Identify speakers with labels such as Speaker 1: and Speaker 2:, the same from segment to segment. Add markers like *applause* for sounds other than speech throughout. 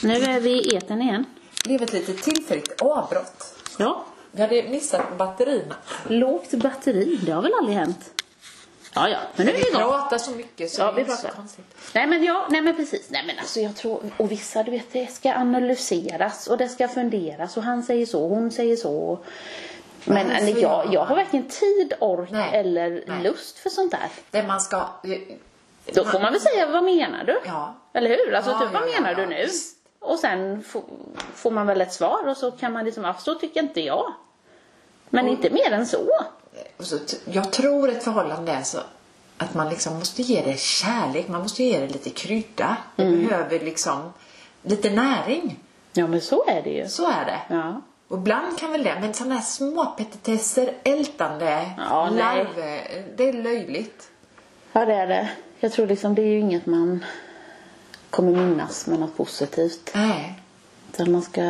Speaker 1: Nu är vi i eten igen.
Speaker 2: Det blev ett litet tillfälligt avbrott.
Speaker 1: Ja.
Speaker 2: Vi hade missat batterierna.
Speaker 1: Lågt batteri, det har väl aldrig hänt? Ja, ja, men nu är vi
Speaker 2: Vi
Speaker 1: igång.
Speaker 2: pratar så mycket så
Speaker 1: Ja,
Speaker 2: det
Speaker 1: vi
Speaker 2: är så
Speaker 1: pratar.
Speaker 2: konstigt.
Speaker 1: Nej men ja, nej men precis. Nej men alltså jag tror, och vissa du vet det ska analyseras och det ska funderas och han säger så, hon säger så. Men
Speaker 2: Ja,
Speaker 1: eller,
Speaker 2: så
Speaker 1: jag,
Speaker 2: ja.
Speaker 1: jag har varken tid, ork
Speaker 2: Nej,
Speaker 1: eller
Speaker 2: nej.
Speaker 1: lust för sånt där.
Speaker 2: Det man ska...
Speaker 1: Då får man väl säga, vad menar du?
Speaker 2: Ja.
Speaker 1: Eller hur? Alltså
Speaker 2: Ja,
Speaker 1: typ, vad
Speaker 2: ja, ja,
Speaker 1: menar
Speaker 2: ja.
Speaker 1: du nu? Och sen får, får man väl ett svar och så kan man liksom, ja, så tycker inte jag. Men inte mer än så.
Speaker 2: Och eh, så, t- jag tror ett förhållande är så att man liksom måste ge det kärlek, man måste ge det lite krydda. Det
Speaker 1: Mm.
Speaker 2: behöver liksom lite näring.
Speaker 1: Ja men så är det ju.
Speaker 2: Så är det.
Speaker 1: Ja.
Speaker 2: Och ibland kan väl det, men sådana här små petitesser, ältande,
Speaker 1: Ja, nej.
Speaker 2: larv, det är löjligt.
Speaker 1: Ja det är det. Jag tror liksom det är ju inget man kommer minnas med något positivt.
Speaker 2: Nej.
Speaker 1: Utan man ska...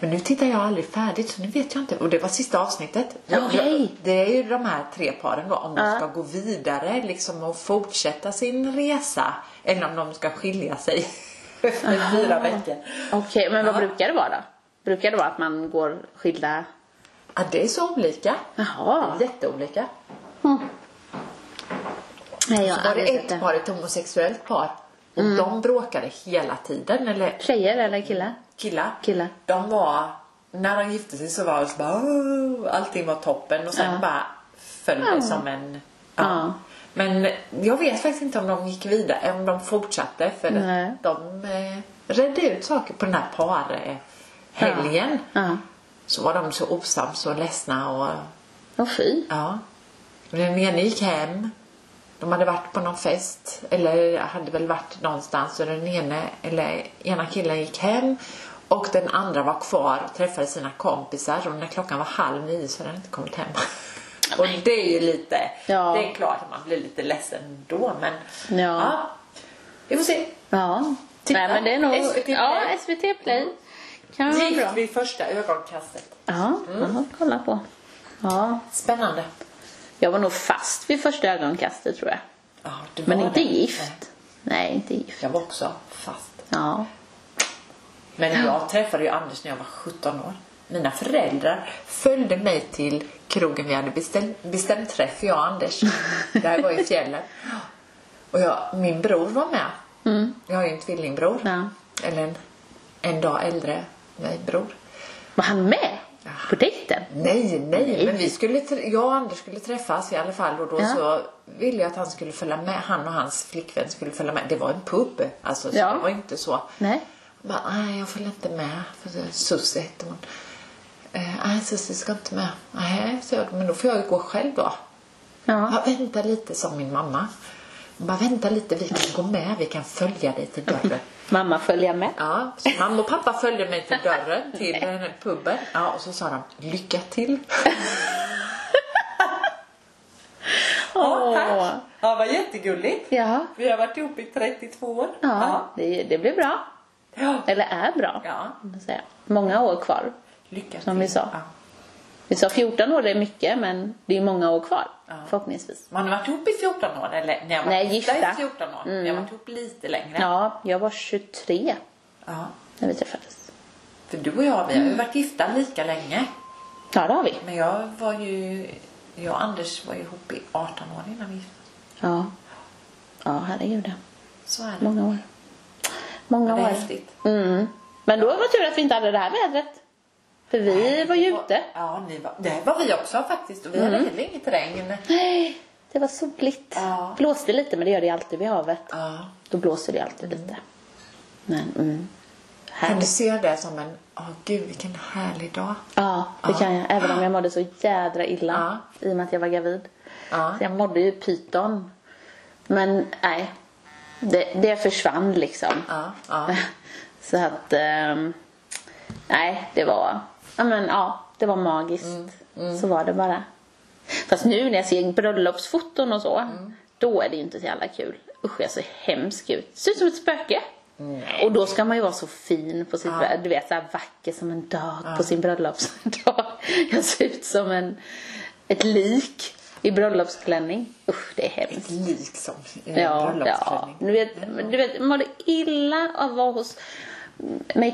Speaker 2: Men nu tittar jag aldrig färdigt så nu vet jag inte. Och det var sista avsnittet. Jag-
Speaker 1: Okej.
Speaker 2: jag- Det är ju de här tre paren då. Om de
Speaker 1: Ja.
Speaker 2: ska gå vidare liksom och fortsätta sin resa. Eller om de ska skilja sig. *laughs* Efter fyra veckor.
Speaker 1: Okej, men vad
Speaker 2: Ja.
Speaker 1: brukar det vara då? Brukar det vara att man går skilda...
Speaker 2: Ja, det är så olika.
Speaker 1: Jaha.
Speaker 2: Jätteolika.
Speaker 1: Nej, jag
Speaker 2: Så var
Speaker 1: har
Speaker 2: det
Speaker 1: aldrig sett
Speaker 2: ett
Speaker 1: det. Mm.
Speaker 2: par, ett homosexuellt par. Och de bråkade hela tiden. Eller
Speaker 1: Tjejer eller killar?
Speaker 2: killar.
Speaker 1: Killar.
Speaker 2: De var, när de gifte sig så var det så bara, "Åh", allting var toppen och sen
Speaker 1: Ja.
Speaker 2: bara föll det som en... Ja.
Speaker 1: Ja.
Speaker 2: Men jag vet faktiskt inte om de gick vidare, om de fortsatte för
Speaker 1: Nej.
Speaker 2: att de eh, redde ut saker på den här parhelgen.
Speaker 1: Ja.
Speaker 2: Så var de så osams och ledsna och
Speaker 1: Åh fy.
Speaker 2: ja. Och Den ena gick hem. De hade varit på någon fest eller hade väl varit någonstans och den ene, eller ena killen gick hem och den andra var kvar och träffade sina kompisar och när klockan var halv nio så hade den inte kommit hem. Och det är ju lite,
Speaker 1: Ja.
Speaker 2: det är klart att man blir lite ledsen då men
Speaker 1: Ja.
Speaker 2: Vi får se.
Speaker 1: Ja.
Speaker 2: Titta.
Speaker 1: Nej men det är nog...
Speaker 2: SVT Play.
Speaker 1: Ja, SVT Play. Kan
Speaker 2: Det
Speaker 1: vara
Speaker 2: gick
Speaker 1: bra.
Speaker 2: vid första ögonkastet.
Speaker 1: Ja, jag har kolla på. Ja.
Speaker 2: Spännande.
Speaker 1: Jag var nog fast vid första ögonkastet tror jag.
Speaker 2: Ja, det
Speaker 1: Men
Speaker 2: var
Speaker 1: inte
Speaker 2: det.
Speaker 1: gift. Nej, inte gift.
Speaker 2: Jag var också fast.
Speaker 1: Ja.
Speaker 2: Men jag träffade ju Anders när jag var 17 år. Mina föräldrar följde mig till krogen vi hade bestämt, bestämt träff, jag och Anders. Det här var i fjällen. Och jag, min bror var med. Jag har ju en tvillingbror.
Speaker 1: Ja.
Speaker 2: Eller en, en dag äldre mig bror.
Speaker 1: Var han med? På dejten?
Speaker 2: Nej, nej, men vi skulle, tr- jag och Anders skulle träffas i alla fall och då
Speaker 1: Ja.
Speaker 2: så ville jag att han skulle följa med, han och hans flickvän skulle följa med. Det var en pub, alltså så
Speaker 1: Ja.
Speaker 2: det var inte så.
Speaker 1: Nej.
Speaker 2: Jag bara, nej jag följer inte med. För det- Susie hette hon. Eh, Nej, Susie ska inte med. Nej, så jag, men då får jag gå själv då.
Speaker 1: Ja.
Speaker 2: Ja, vänta lite, sa min mamma. Hon bara, vänta lite, vi kan gå med, vi kan följa dig
Speaker 1: *laughs*
Speaker 2: till dörren.
Speaker 1: Mamma följa med.
Speaker 2: Ja, så mamma och pappa följde mig till dörren till den här puben. Ja, och så sa de, lycka till. *laughs*
Speaker 1: Åh.
Speaker 2: Ja, vad jättegulligt.
Speaker 1: Ja.
Speaker 2: Vi har varit ihop i 32 år.
Speaker 1: Ja, det, det blir bra.
Speaker 2: Ja.
Speaker 1: Eller är bra.
Speaker 2: Ja.
Speaker 1: kan man säga. Många år kvar.
Speaker 2: Lycka till.
Speaker 1: Som vi sa.
Speaker 2: Ja.
Speaker 1: Vi sa 14 år, det är mycket, men det är många år kvar. Förhoppningsvis.
Speaker 2: Man har varit ihop i 14 år, eller när jag var
Speaker 1: Nej, gifta.
Speaker 2: i 14 år.
Speaker 1: Mm.
Speaker 2: Jag har varit ihop lite längre.
Speaker 1: Ja, jag var 23
Speaker 2: Ja,
Speaker 1: när vi träffades.
Speaker 2: för du och jag, vi har ju
Speaker 1: Mm.
Speaker 2: varit gifta lika länge.
Speaker 1: Ja, det har vi.
Speaker 2: Men jag var ju, jag och Anders var ju ihop i 18 år innan vi gifte oss.
Speaker 1: Ja. Ja, herregud.
Speaker 2: Så är det.
Speaker 1: Många år. Många
Speaker 2: Ja, det är
Speaker 1: år.
Speaker 2: häftigt.
Speaker 1: Mm. Men då var det tur att vi inte hade det här vädret. För vi var ju ute. Mm.
Speaker 2: Ja, ni var, det var vi också faktiskt. Och vi hade heller inget regn.
Speaker 1: Nej, det var soligt.
Speaker 2: Ja.
Speaker 1: Blåste lite, men det gör det ju alltid vid havet.
Speaker 2: Ja.
Speaker 1: Då blåser det alltid lite. Men, mm.
Speaker 2: Kan du
Speaker 1: Härligt.
Speaker 2: se det som en, åh gud vilken härlig dag.
Speaker 1: Ja, det
Speaker 2: Ja.
Speaker 1: kan jag. Även om jag mådde så jädra illa. I och med att jag var gravid.
Speaker 2: Ja.
Speaker 1: Så jag mådde ju pyton. Men nej. Det, det försvann liksom.
Speaker 2: Ja, ja.
Speaker 1: *laughs* Så att... ehm, nej, det var... Ja, men ja. Det var magiskt. Så var det bara. Fast nu när jag ser bröllopsfoton och så. Då är det ju inte så jävla kul. Usch, jag ser hemsk ut. Ser ut som ett spöke. Och då ska man ju vara så fin på sitt bröllop. Du vet, så här vacker som en dag på sin bröllopsdag. *laughs* Jag ser ut som en, ett lik i bröllopsklänning. Usch, det är hemskt.
Speaker 2: Lik som en
Speaker 1: Ja, ja.
Speaker 2: eh, bröllopsklänning.
Speaker 1: Du vet, men du vet, jag mådde illa av att vara hos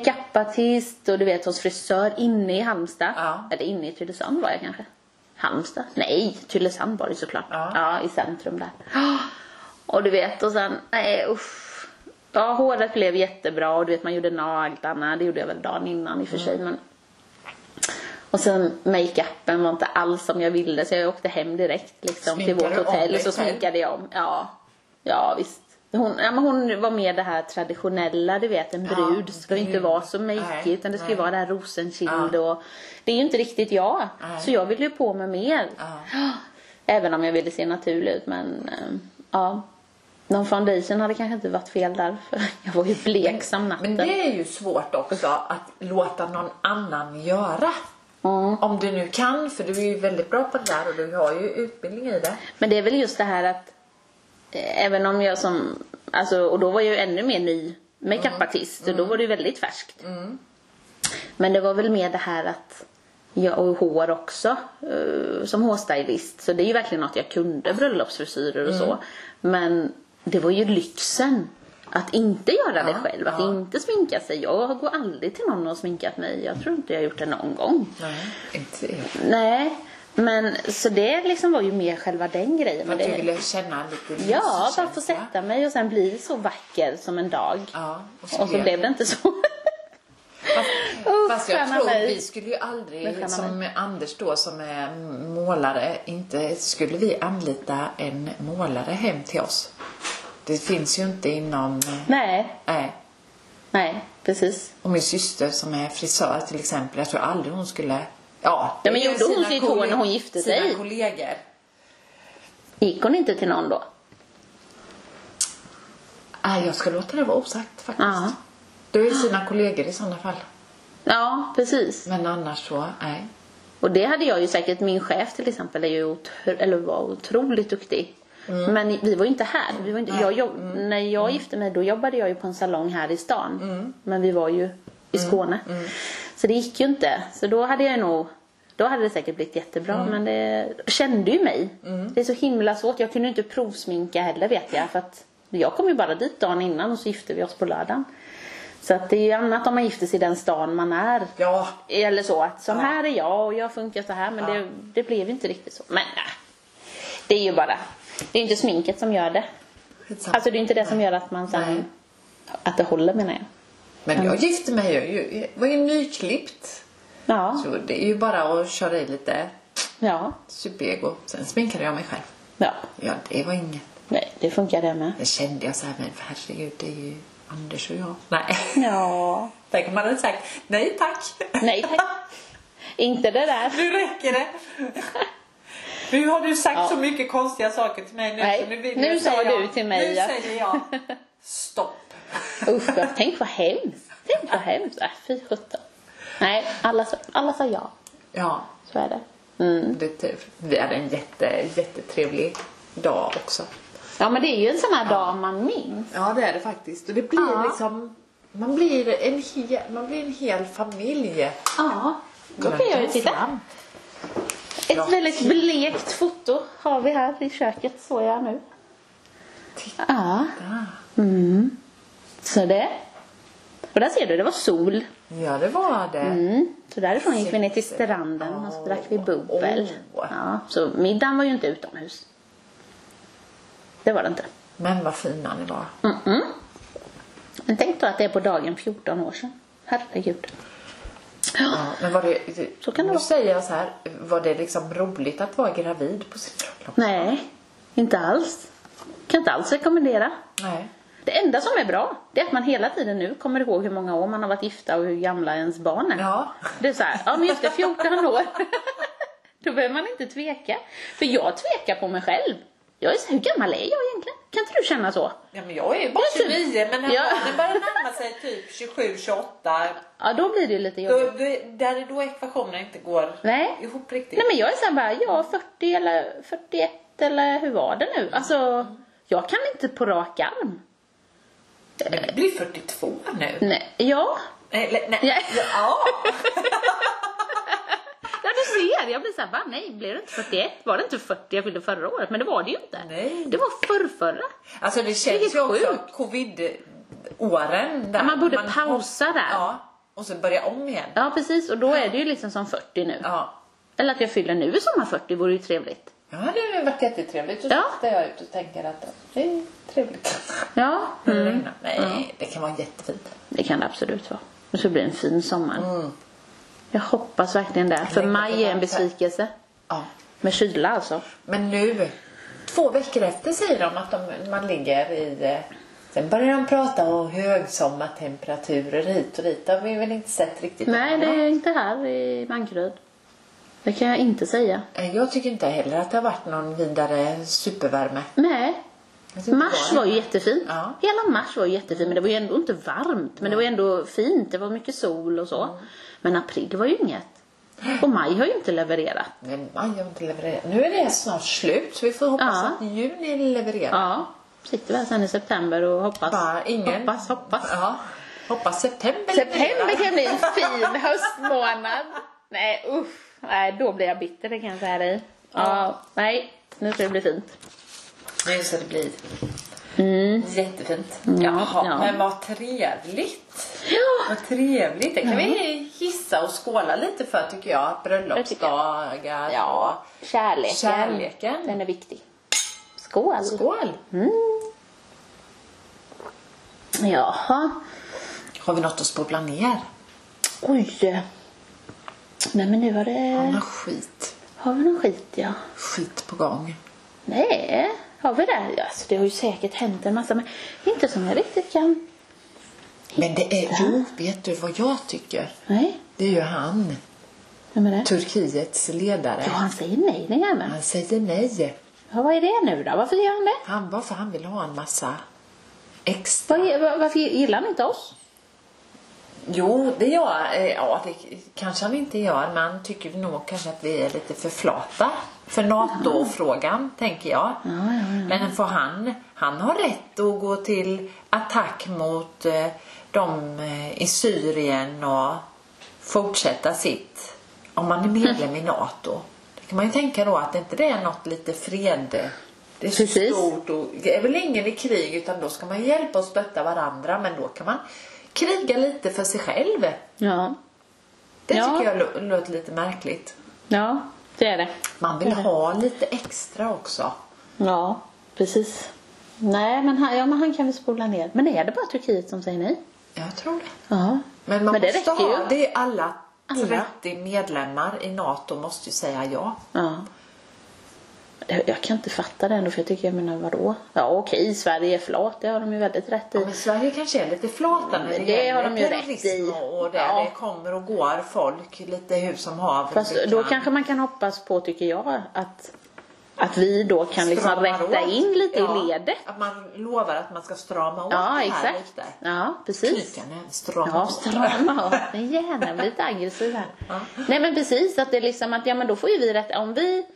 Speaker 1: makeupartist och du vet hos frisör inne i Halmstad.
Speaker 2: Ja.
Speaker 1: Eller inne i Tylösand var jag kanske. Halmstad? Nej, Tylösand var det såklart.
Speaker 2: Ja.
Speaker 1: i centrum där. Och du vet, och sen, nej usch. Ja, håret blev jättebra och du vet man gjorde naglarna, det gjorde jag väl dagen innan i och för sig
Speaker 2: Mm.
Speaker 1: men och sen makeupen var inte alls som jag ville så jag åkte hem direkt liksom, till
Speaker 2: Sminkade
Speaker 1: vårt
Speaker 2: du om
Speaker 1: hotell
Speaker 2: dig
Speaker 1: och så
Speaker 2: själv?
Speaker 1: sminkade jag om. Ja, ja visst. Hon, ja, men hon var mer det här traditionella, du vet en
Speaker 2: Ja,
Speaker 1: brud ska ju inte
Speaker 2: brud.
Speaker 1: vara så
Speaker 2: Nej,
Speaker 1: makeig utan det ska ju
Speaker 2: nej.
Speaker 1: vara det här rosenkind och det är ju inte riktigt jag.
Speaker 2: Nej.
Speaker 1: Så jag ville ju på mig mer.
Speaker 2: Ja.
Speaker 1: *gasps* Även om jag ville se naturlig ut men eh, ja. Någon foundation hade kanske inte varit fel där för jag var ju blek som natten.
Speaker 2: Men det är ju svårt också att låta någon annan göra.
Speaker 1: Mm.
Speaker 2: Om du nu kan, för du är ju väldigt bra på det där och du har ju utbildning i det.
Speaker 1: Men det är väl just det här att eh, även om jag som, alltså, och då var jag ju ännu mer ny makeupartist
Speaker 2: Mm.
Speaker 1: och då var det ju väldigt färskt. Men det var väl mer det här att jag och hår också eh, som hårstylist. Så det är ju verkligen något jag kunde, bröllopsfrisyrer och
Speaker 2: Mm.
Speaker 1: så. Men det var ju lyxen att inte göra det
Speaker 2: Ja,
Speaker 1: själv, att
Speaker 2: ja.
Speaker 1: inte sminka sig. Jag går aldrig till någon och sminkat mig. Jag tror inte jag har gjort det någon gång.
Speaker 2: Nej, inte jag.
Speaker 1: Nej, men så det liksom var ju mer själva den grejen.
Speaker 2: Men
Speaker 1: Men det-
Speaker 2: du ville känna lite
Speaker 1: Ja, bara
Speaker 2: livskänsla.
Speaker 1: få sätta mig och sen bli så vacker som en dag.
Speaker 2: Ja, och så,
Speaker 1: och så blev det inte så.
Speaker 2: Fast,
Speaker 1: Usch,
Speaker 2: fast jag
Speaker 1: stjärna
Speaker 2: tror
Speaker 1: mig.
Speaker 2: vi skulle ju
Speaker 1: Men stjärna
Speaker 2: aldrig, som Anders då som är målare, inte skulle vi anlita en målare hem till oss. Det finns ju inte inom... eh,
Speaker 1: nej,
Speaker 2: Nej.
Speaker 1: nej, precis.
Speaker 2: Och min syster som är frisör till exempel, jag tror aldrig hon skulle... Ja,
Speaker 1: Ja, men
Speaker 2: det är
Speaker 1: gjorde hon
Speaker 2: sina
Speaker 1: sitt hår
Speaker 2: kolle-
Speaker 1: när hon gifte
Speaker 2: sina
Speaker 1: sig?
Speaker 2: kollegor.
Speaker 1: Gick hon inte till någon då?
Speaker 2: Nej, jag ska låta det vara osagt faktiskt.
Speaker 1: Ja.
Speaker 2: Det är sina kollegor i sådana fall.
Speaker 1: Ja, precis.
Speaker 2: Men annars så, nej.
Speaker 1: Och det hade jag ju säkert, min chef till exempel är ju otro, eller var otroligt duktig. Men vi var ju inte här. Vi var inte, jag jobb, När jag gifte mig då jobbade jag ju på en salong här i stan. Men vi var ju i Skåne. Så det gick ju inte. Så då hade jag nog då hade det säkert blivit jättebra men det kände ju mig. Det är så himla svårt. Jag kunde ju inte provsminka heller vet jag. För att jag kom ju bara dit dagen innan och så gifte vi oss på lördagen. Så att det är ju annat om man gifter sig i den stan man är.
Speaker 2: Ja,
Speaker 1: Eller så att som här är jag och jag funkar så här men
Speaker 2: Ja.
Speaker 1: det, det blev ju inte riktigt så. Men nej. Det är ju bara, det är ju inte sminket som gör det.
Speaker 2: skitsamma.
Speaker 1: Alltså det är inte det som gör att man
Speaker 2: Nej.
Speaker 1: sen, att det håller menar jag.
Speaker 2: Men jag gifte mig ju, jag var ju nyklippt.
Speaker 1: Ja,
Speaker 2: Så det är ju bara att köra i lite
Speaker 1: ja,
Speaker 2: superego. Sen sminkade jag mig själv.
Speaker 1: ja.
Speaker 2: Ja, det var inget.
Speaker 1: Nej, det funkar det med.
Speaker 2: Det kände jag så här, men herregud, det är ju Anders och jag. Nej. *laughs*
Speaker 1: Ja.
Speaker 2: Tänk om man hade sagt, nej tack.
Speaker 1: Nej tack. Inte det där.
Speaker 2: Nu räcker det. Nu har du sagt
Speaker 1: Ja.
Speaker 2: så mycket konstiga saker till mig nu.
Speaker 1: Nej,
Speaker 2: så nu, vill
Speaker 1: nu
Speaker 2: jag
Speaker 1: sa
Speaker 2: säga-
Speaker 1: du till mig
Speaker 2: Nu
Speaker 1: att-
Speaker 2: säger jag stopp.
Speaker 1: Usch, jag- tänk vad hemskt. Tänk vad hemskt. Äh, fy sjutton. Nej, alla, sa- alla sa ja.
Speaker 2: Ja,
Speaker 1: Så är det. Mm.
Speaker 2: det, är tur. vi hade en jätte, jättetrevlig dag också.
Speaker 1: Ja men det är ju en sån här dag man minns.
Speaker 2: Ja, det är det faktiskt. Och det blir
Speaker 1: Ja.
Speaker 2: liksom... Man blir, en hel, man blir en hel familj.
Speaker 1: Ja. Då kan jag ju titta.
Speaker 2: Fram.
Speaker 1: Ett
Speaker 2: Ja.
Speaker 1: väldigt blekt foto har vi här i köket, såg jag nu.
Speaker 2: Titta.
Speaker 1: Ja,
Speaker 2: Ah.
Speaker 1: så det. Och där ser du, det var sol.
Speaker 2: Ja, det var det.
Speaker 1: Mm. Så därifrån gick vi ner till stranden och så drack vi bubbel.
Speaker 2: Åh.
Speaker 1: Ja, så middagen var ju inte utomhus. Det var det inte.
Speaker 2: Men vad fina ni var.
Speaker 1: Men tänk då att det är på dagen 14 år sedan. Herregud.
Speaker 2: Ja, men var det,
Speaker 1: Så kan det
Speaker 2: nu
Speaker 1: vara.
Speaker 2: säger jag så här, var det liksom roligt att vara gravid på sin bröllop?
Speaker 1: Nej, inte alls. Kan inte alls rekommendera.
Speaker 2: Nej.
Speaker 1: Det enda som är bra, det är att man hela tiden nu kommer ihåg hur många år man har varit gifta och hur gamla ens barn är.
Speaker 2: Ja.
Speaker 1: Det är så här, ja men just det, 14 år. *laughs* Då behöver man inte tveka. För jag tvekar på mig själv. Jag är så här, hur gammal är jag egentligen? Kan inte du känna så?
Speaker 2: Ja, men jag är ju bara
Speaker 1: Jag är typ-
Speaker 2: 29 men när
Speaker 1: Ja.
Speaker 2: barnen börjar närma sig typ 27, 28
Speaker 1: Ja, då blir det ju lite
Speaker 2: då,
Speaker 1: jobbigt.
Speaker 2: då, där är då ekvationen inte går
Speaker 1: Nej.
Speaker 2: ihop riktigt.
Speaker 1: Nej men jag är så här bara, ja 40 eller 41 eller hur var det nu? Alltså, jag kan inte på rak arm.
Speaker 2: men du blir 42 nu.
Speaker 1: Nej, ja.
Speaker 2: Eller, nej.
Speaker 1: Ja.
Speaker 2: Ja.
Speaker 1: Ja du ser, jag blir så här, bara, nej blev det inte 41? Var det inte 40 jag fyllde förra året? Men det var det ju inte.
Speaker 2: Nej.
Speaker 1: Det var förrförra.
Speaker 2: Alltså det
Speaker 1: Det är
Speaker 2: känns ju också,
Speaker 1: sjukt.
Speaker 2: covid åren. Där.
Speaker 1: Ja, man borde pausa där.
Speaker 2: Ja, och så börja om igen.
Speaker 1: Ja, precis. Och då är det ju liksom som 40 nu.
Speaker 2: Ja.
Speaker 1: Eller att jag fyller nu som är 40 vore ju trevligt.
Speaker 2: Ja, det hade ju varit jättetrevligt. Så
Speaker 1: Ja.
Speaker 2: tittar jag ut och tänker att det är trevligt.
Speaker 1: Ja, mm.
Speaker 2: Mm. Nej, det kan vara jättefint.
Speaker 1: det kan det absolut vara. Och så blir det en fin sommar. Jag hoppas verkligen det. För
Speaker 2: Mm. längtar
Speaker 1: maj är en
Speaker 2: tillbaka.
Speaker 1: besvikelse.
Speaker 2: Ja.
Speaker 1: Med kyla alltså.
Speaker 2: Men nu, två veckor efter säger de att de, man ligger i... eh, Sen börjar de prata om högsommartemperaturer hit och dit. Det har vi väl inte sett riktigt.
Speaker 1: Nej,
Speaker 2: än,
Speaker 1: det
Speaker 2: va?
Speaker 1: är inte här i Mankeryd. Det kan jag inte säga.
Speaker 2: Eh, Jag tycker inte heller att det har varit någon vidare supervärme.
Speaker 1: Nej.
Speaker 2: Jag tycker
Speaker 1: Mars
Speaker 2: det
Speaker 1: Alltså, var ju jättefint.
Speaker 2: Ja.
Speaker 1: Hela mars var ju jättefint. Men det var ju ändå inte varmt. Men det var ju ändå fint. Det var mycket sol och så. Men april var ju inget. Och maj har ju inte levererat.
Speaker 2: Men maj har inte levererat. Nu är det snart slut så vi får hoppas
Speaker 1: Ja.
Speaker 2: att juni levererar.
Speaker 1: Ja. Sitter vi här sen i september och hoppas.
Speaker 2: Bara ingen...
Speaker 1: Hoppas, hoppas.
Speaker 2: Ja. Hoppas september
Speaker 1: September
Speaker 2: levererar.
Speaker 1: kan bli en fin *laughs* höstmånad. Nej, uff. Nej, då blir jag bitter, det kan jag säga dig. Ja, nej. Nu ska det bli fint.
Speaker 2: Nu ska det bli jättefint.
Speaker 1: Ja,
Speaker 2: Jaha,
Speaker 1: Mm. ja.
Speaker 2: men vad trevligt.
Speaker 1: Ja.
Speaker 2: Vad trevligt. Det kan vi hissa och skåla lite för tycker jag. Bröllopsdagar
Speaker 1: Ja, kärleken.
Speaker 2: Kärleken.
Speaker 1: Den är viktig. Skål.
Speaker 2: och skål.
Speaker 1: Jaha.
Speaker 2: Har vi något att spola ner?
Speaker 1: Oj. Nej, men nu var det...
Speaker 2: Någon skit.
Speaker 1: Har vi någon skit, ja?
Speaker 2: Skit på gång.
Speaker 1: Nej, har vi det? Ja, Alltså, det har ju säkert hänt en massa, men inte som jag riktigt kan...
Speaker 2: Men det är, jo, vet du vad jag tycker?
Speaker 1: Nej,
Speaker 2: Det är ju han,
Speaker 1: vem är det?
Speaker 2: Typ. Turkiets ledare.
Speaker 1: Ja, han säger nej, den jäveln.
Speaker 2: Han säger nej.
Speaker 1: Ja, vad är det nu då? Varför gör han det?
Speaker 2: Han bara för han vill ha en massa extra
Speaker 1: Vad är- va- Varför gillar han inte oss?
Speaker 2: Jo, det gör eh, Ja, det kanske han inte gör, men han tycker nog kanske att vi är lite för flata för NATO-frågan, tänker jag. Men för han, han har rätt att gå till attack mot eh, dem eh, i Syrien och fortsätta sitt, om man är medlem i NATO. Det kan man ju tänka då att det inte det är något lite fred... Det är så
Speaker 1: Precis.
Speaker 2: stort stort och det är väl ingen i krig utan då ska man hjälpa och stötta varandra men då kan man kriga lite för sig själv.
Speaker 1: Ja,
Speaker 2: Det
Speaker 1: Ja.
Speaker 2: tycker jag lå- låter lite märkligt.
Speaker 1: ja, det är det.
Speaker 2: Man vill
Speaker 1: Mm.
Speaker 2: ha lite extra också.
Speaker 1: Ja, precis. Nej, men han, ja, men han kan vi spola ner. Men är det bara Turkiet som säger nej?
Speaker 2: Jag tror det.
Speaker 1: Ja.
Speaker 2: Men man
Speaker 1: Men det
Speaker 2: måste
Speaker 1: räcker ju.
Speaker 2: ha, det är alla
Speaker 1: Alla.
Speaker 2: 30 medlemmar i NATO måste ju säga ja.
Speaker 1: ja. Jag- Jag kan inte fatta det ändå, för jag tycker, jag menar vadå? Ja, okej, Sverige är flat, det har de ju väldigt rätt i.
Speaker 2: Men Sverige kanske är lite flata när det,
Speaker 1: Det
Speaker 2: gäller
Speaker 1: har de ju rätt
Speaker 2: terrorism
Speaker 1: i.
Speaker 2: och det.
Speaker 1: Ja.
Speaker 2: Det kommer och går folk lite hur som haver.
Speaker 1: Fast
Speaker 2: Det
Speaker 1: då
Speaker 2: kan-
Speaker 1: kanske man kan hoppas på, tycker jag, att, att vi då kan liksom
Speaker 2: stramar
Speaker 1: rätta
Speaker 2: åt.
Speaker 1: in lite
Speaker 2: Ja,
Speaker 1: i ledet.
Speaker 2: Att man lovar att man ska strama åt det
Speaker 1: Ja,
Speaker 2: här
Speaker 1: exakt.
Speaker 2: lite.
Speaker 1: Ja, precis.
Speaker 2: Knyta näven, strama
Speaker 1: Ja,
Speaker 2: åt.
Speaker 1: strama åt den gärna. Bli lite aggressiv här. Nej men precis, att det är liksom att ja men då får ju vi rätt. Om vi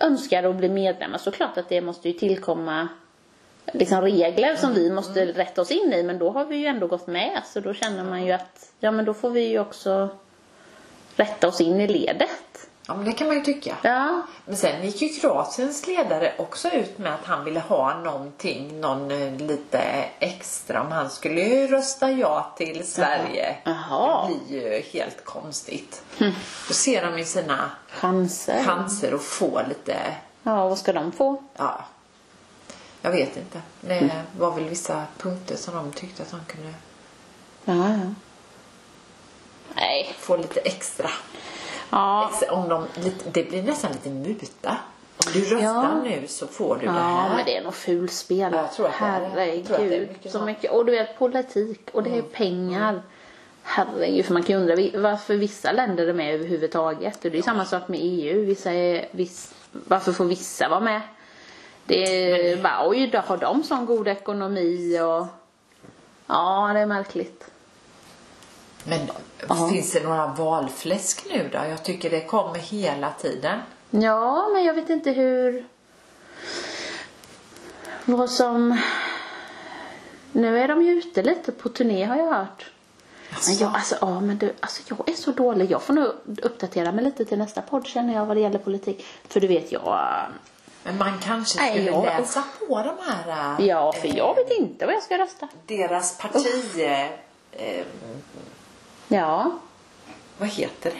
Speaker 1: önskar att bli medlemmar så klart att det måste ju tillkomma liksom regler som vi måste rätta oss in i. Men då har vi ju ändå gått med så då känner man ju att ja men då får vi ju också rätta oss in i ledet.
Speaker 2: *laughs* Ja, men det kan man ju tycka.
Speaker 1: Ja,
Speaker 2: Men sen gick ju Kroatiens ledare också ut med att han ville ha någonting, någon eh, lite extra. Om han skulle ju rösta ja till Sverige.
Speaker 1: Jaha. Hm.
Speaker 2: Det blir ju helt konstigt. Då ser de ju sina
Speaker 1: chanser.
Speaker 2: chanser att få lite,
Speaker 1: Ja, vad ska de få?
Speaker 2: ja. Jag vet inte.
Speaker 1: Mm.
Speaker 2: Det var väl vissa punkter som de tyckte att de kunde
Speaker 1: Ja, ja. Nej.
Speaker 2: få lite extra.
Speaker 1: Ja,
Speaker 2: Ex- Om de, lite- det blir nästan lite muta. Om du röstar
Speaker 1: Ja.
Speaker 2: nu så får du det
Speaker 1: Ja,
Speaker 2: här.
Speaker 1: men det är nog fulspel.
Speaker 2: Ja, jag tror att det är det. Jag tror att det är
Speaker 1: Herregud.
Speaker 2: mycket
Speaker 1: Så
Speaker 2: sånt. Mm.
Speaker 1: mycket. Och du vet, politik och det är pengar. Herregud, för man kan ju undra vi- varför vissa länder är med överhuvudtaget. Och det är ju samma sak med EU. Vissa är, viss, varför får vissa vara med? Det är
Speaker 2: Mm.
Speaker 1: bara, oj då har de sån god ekonomi och... Ja, det är märkligt.
Speaker 2: Men finns det några valfläsk nu då? Jag tycker det kommer hela tiden.
Speaker 1: Ja, men jag vet inte hur... Vad som... Nu är de ju ute lite på turné har jag hört. Men jag, alltså, ja, men du, alltså, jag är så dålig. Jag får nog uppdatera mig lite till nästa podd känner jag vad det gäller politik. För du vet, jag,
Speaker 2: Men man kanske
Speaker 1: Nej,
Speaker 2: skulle
Speaker 1: jag-
Speaker 2: läsa på de här... äh,
Speaker 1: Ja, för jag vet inte vad jag ska rösta.
Speaker 2: Deras parti... Eh,
Speaker 1: Ja,
Speaker 2: vad heter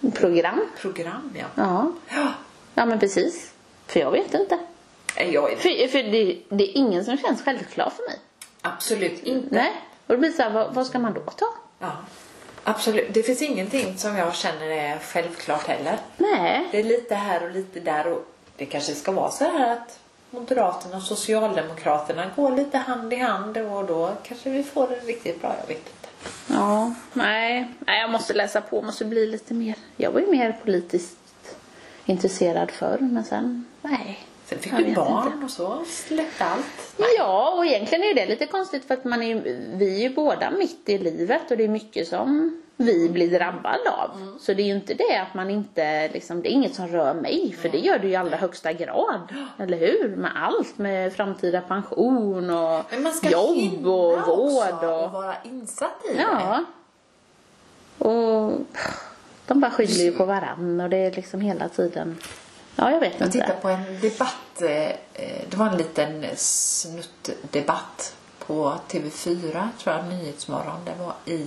Speaker 2: det?
Speaker 1: program.
Speaker 2: Program, ja.
Speaker 1: Ja,
Speaker 2: Ja,
Speaker 1: ja men precis. För jag vet inte.
Speaker 2: nej, jag är
Speaker 1: För, för det, det är ingen som känns självklar för mig.
Speaker 2: absolut inte...
Speaker 1: Nej. Och det blir så här, vad, vad ska man då ta?
Speaker 2: Ja, absolut. Det finns ingenting som jag känner är självklart heller.
Speaker 1: Nej.
Speaker 2: Det är lite här och lite där och det kanske ska vara så här att Moderaterna och Socialdemokraterna går lite hand i hand och då kanske vi får det riktigt bra. Jag vet inte.
Speaker 1: Ja, nej. nej. Jag måste läsa på, måste bli lite mer. Jag var ju mer politiskt intresserad förr, men sen, nej.
Speaker 2: Sen fick
Speaker 1: Jag
Speaker 2: du
Speaker 1: vet
Speaker 2: barn
Speaker 1: inte.
Speaker 2: och så släppte allt.
Speaker 1: Ja, och egentligen är det lite konstigt för att man är, ju- vi är ju båda mitt i livet och det är mycket som vi blir drabbade av.
Speaker 2: Mm.
Speaker 1: Så det är ju inte det att man inte, liksom, det är inget som rör mig, för det gör det ju i allra högsta
Speaker 2: *gasps*
Speaker 1: grad. Eller hur? Med allt, med framtida pension och
Speaker 2: Men man ska
Speaker 1: jobb
Speaker 2: hinna
Speaker 1: och vård
Speaker 2: också
Speaker 1: och...
Speaker 2: och vara insatt i det.
Speaker 1: Ja. Och de bara skyller ju på varann och det är liksom hela tiden. Ja, jag vet
Speaker 2: Jag
Speaker 1: inte.
Speaker 2: tittade på en debatt, eh, eh, det var en liten snuttdebatt på TV4, tror jag, Nyhetsmorgon. Det var i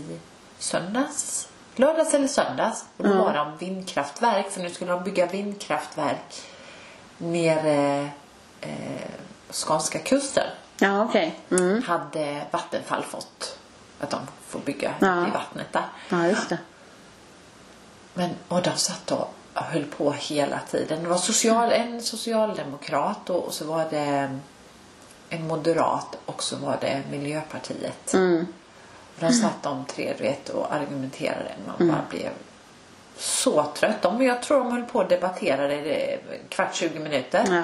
Speaker 2: söndags, lördags eller söndags. Och då var det om vindkraftverk, för nu skulle de bygga vindkraftverk nere eh, skånska kusten.
Speaker 1: Ja, okej. Mm.
Speaker 2: Hade Vattenfall fått att de får bygga
Speaker 1: Ja.
Speaker 2: i vattnet där.
Speaker 1: Ja, just det.
Speaker 2: Men, och de satt och höll på hela tiden. Det var social, en socialdemokrat och, och så var det eh, en moderat och så var det Miljöpartiet.
Speaker 1: Mm.
Speaker 2: Och de satt de tre du vet, och argumenterade. Man
Speaker 1: Mm.
Speaker 2: bara blev så trött. De, jag tror de höll på och debatterade i kvart, 20 minuter.
Speaker 1: Ja.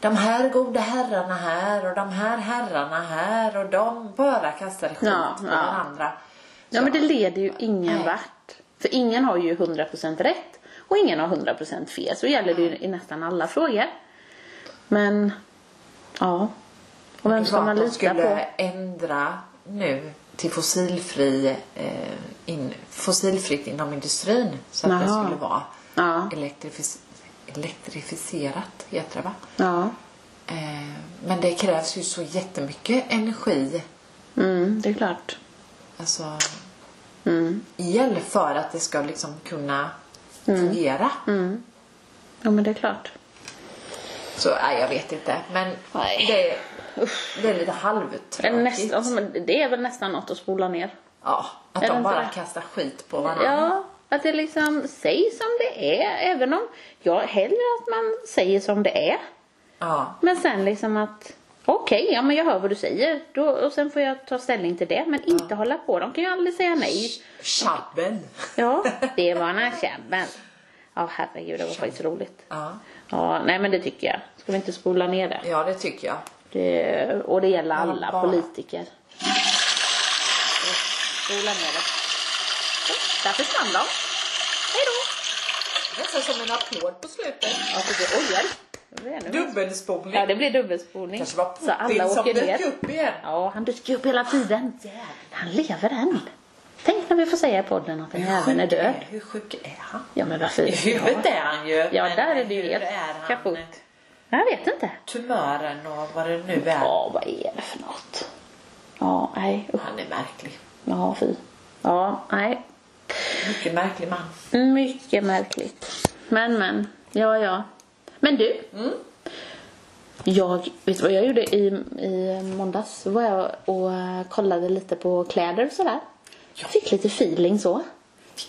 Speaker 2: De här goda herrarna här och de här herrarna här och de bara kastade skit
Speaker 1: Ja,
Speaker 2: på
Speaker 1: ja.
Speaker 2: varandra.
Speaker 1: Ja, men det leder ju ingen
Speaker 2: Nej.
Speaker 1: vart. För ingen har ju 100% rätt och ingen har 100% fel. Så gäller det ju i nästan alla frågor. Men, ja. Och vem
Speaker 2: Det
Speaker 1: ska
Speaker 2: var
Speaker 1: man
Speaker 2: att de
Speaker 1: lita
Speaker 2: skulle
Speaker 1: på?
Speaker 2: ändra nu till fossilfri, eh, in, fossilfritt inom industrin. Så att det
Speaker 1: Jaha.
Speaker 2: skulle vara
Speaker 1: Ja.
Speaker 2: elektrifis- elektrifierat, heter det va?
Speaker 1: Ja,
Speaker 2: Eh, men det krävs ju så jättemycket energi,
Speaker 1: mm, det är klart.
Speaker 2: alltså
Speaker 1: Mm.
Speaker 2: el för att det ska liksom kunna fungera.
Speaker 1: Mm. Ja, men det är klart.
Speaker 2: Så nej, jag vet inte. Men
Speaker 1: Nej.
Speaker 2: det, är- det är lite halvtråkigt.
Speaker 1: Eller nästan, som- alltså, det är väl nästan något att spola ner.
Speaker 2: Ja, att
Speaker 1: Är det
Speaker 2: de
Speaker 1: inte
Speaker 2: bara
Speaker 1: det?
Speaker 2: kastar skit på varandra.
Speaker 1: Ja, att det liksom sägs som det är. Även om jag hellre att man säger som det är.
Speaker 2: ja.
Speaker 1: Men sen liksom att okej, ja men jag hör vad du säger. Då, och sen får jag ta ställning till det. Men inte hålla på. De kan ju aldrig säga nej.
Speaker 2: Tjabben.
Speaker 1: Ja, det var den här käbben. Ja, herregud, det var faktiskt roligt.
Speaker 2: Ja.
Speaker 1: Ja, nej men det tycker jag. Ska vi inte spola ner det?
Speaker 2: ja, det tycker jag.
Speaker 1: det och det gäller alla
Speaker 2: bara.
Speaker 1: politiker. Så, Spola ner det. Så, där försvann de. Hej då!
Speaker 2: Nästan som en applåd på slutet.
Speaker 1: Ja, för det, oj, oj. Det blir ännu mer.
Speaker 2: Dubbelspolning.
Speaker 1: Ja, det blir dubbelspolning.
Speaker 2: kanske var
Speaker 1: Så alla
Speaker 2: Putin som
Speaker 1: åker ner.
Speaker 2: dök upp igen.
Speaker 1: Ja, han dyker upp hela tiden. Han lever än. Tänk när vi får säga i podden att den jäveln är död.
Speaker 2: Hur sjuk är han?
Speaker 1: Ja, men varför?
Speaker 2: I huvudet är han ju.
Speaker 1: Ja,
Speaker 2: men
Speaker 1: där är det ju
Speaker 2: hur
Speaker 1: helt
Speaker 2: är han?
Speaker 1: kaputt. Jag vet inte.
Speaker 2: Tumören och vad det nu är.
Speaker 1: Ja, vad är det för något? Ja, nej. usch.
Speaker 2: Han är märklig.
Speaker 1: Ja, fy. Ja, nej.
Speaker 2: Mycket märklig man.
Speaker 1: Mycket märkligt. Men, men. Ja, ja. Men du.
Speaker 2: Mm.
Speaker 1: Jag, vet du vad jag gjorde i, i måndags? Då var jag och eh, kollade lite på kläder och sådär.
Speaker 2: Ja.
Speaker 1: Fick lite feeling så.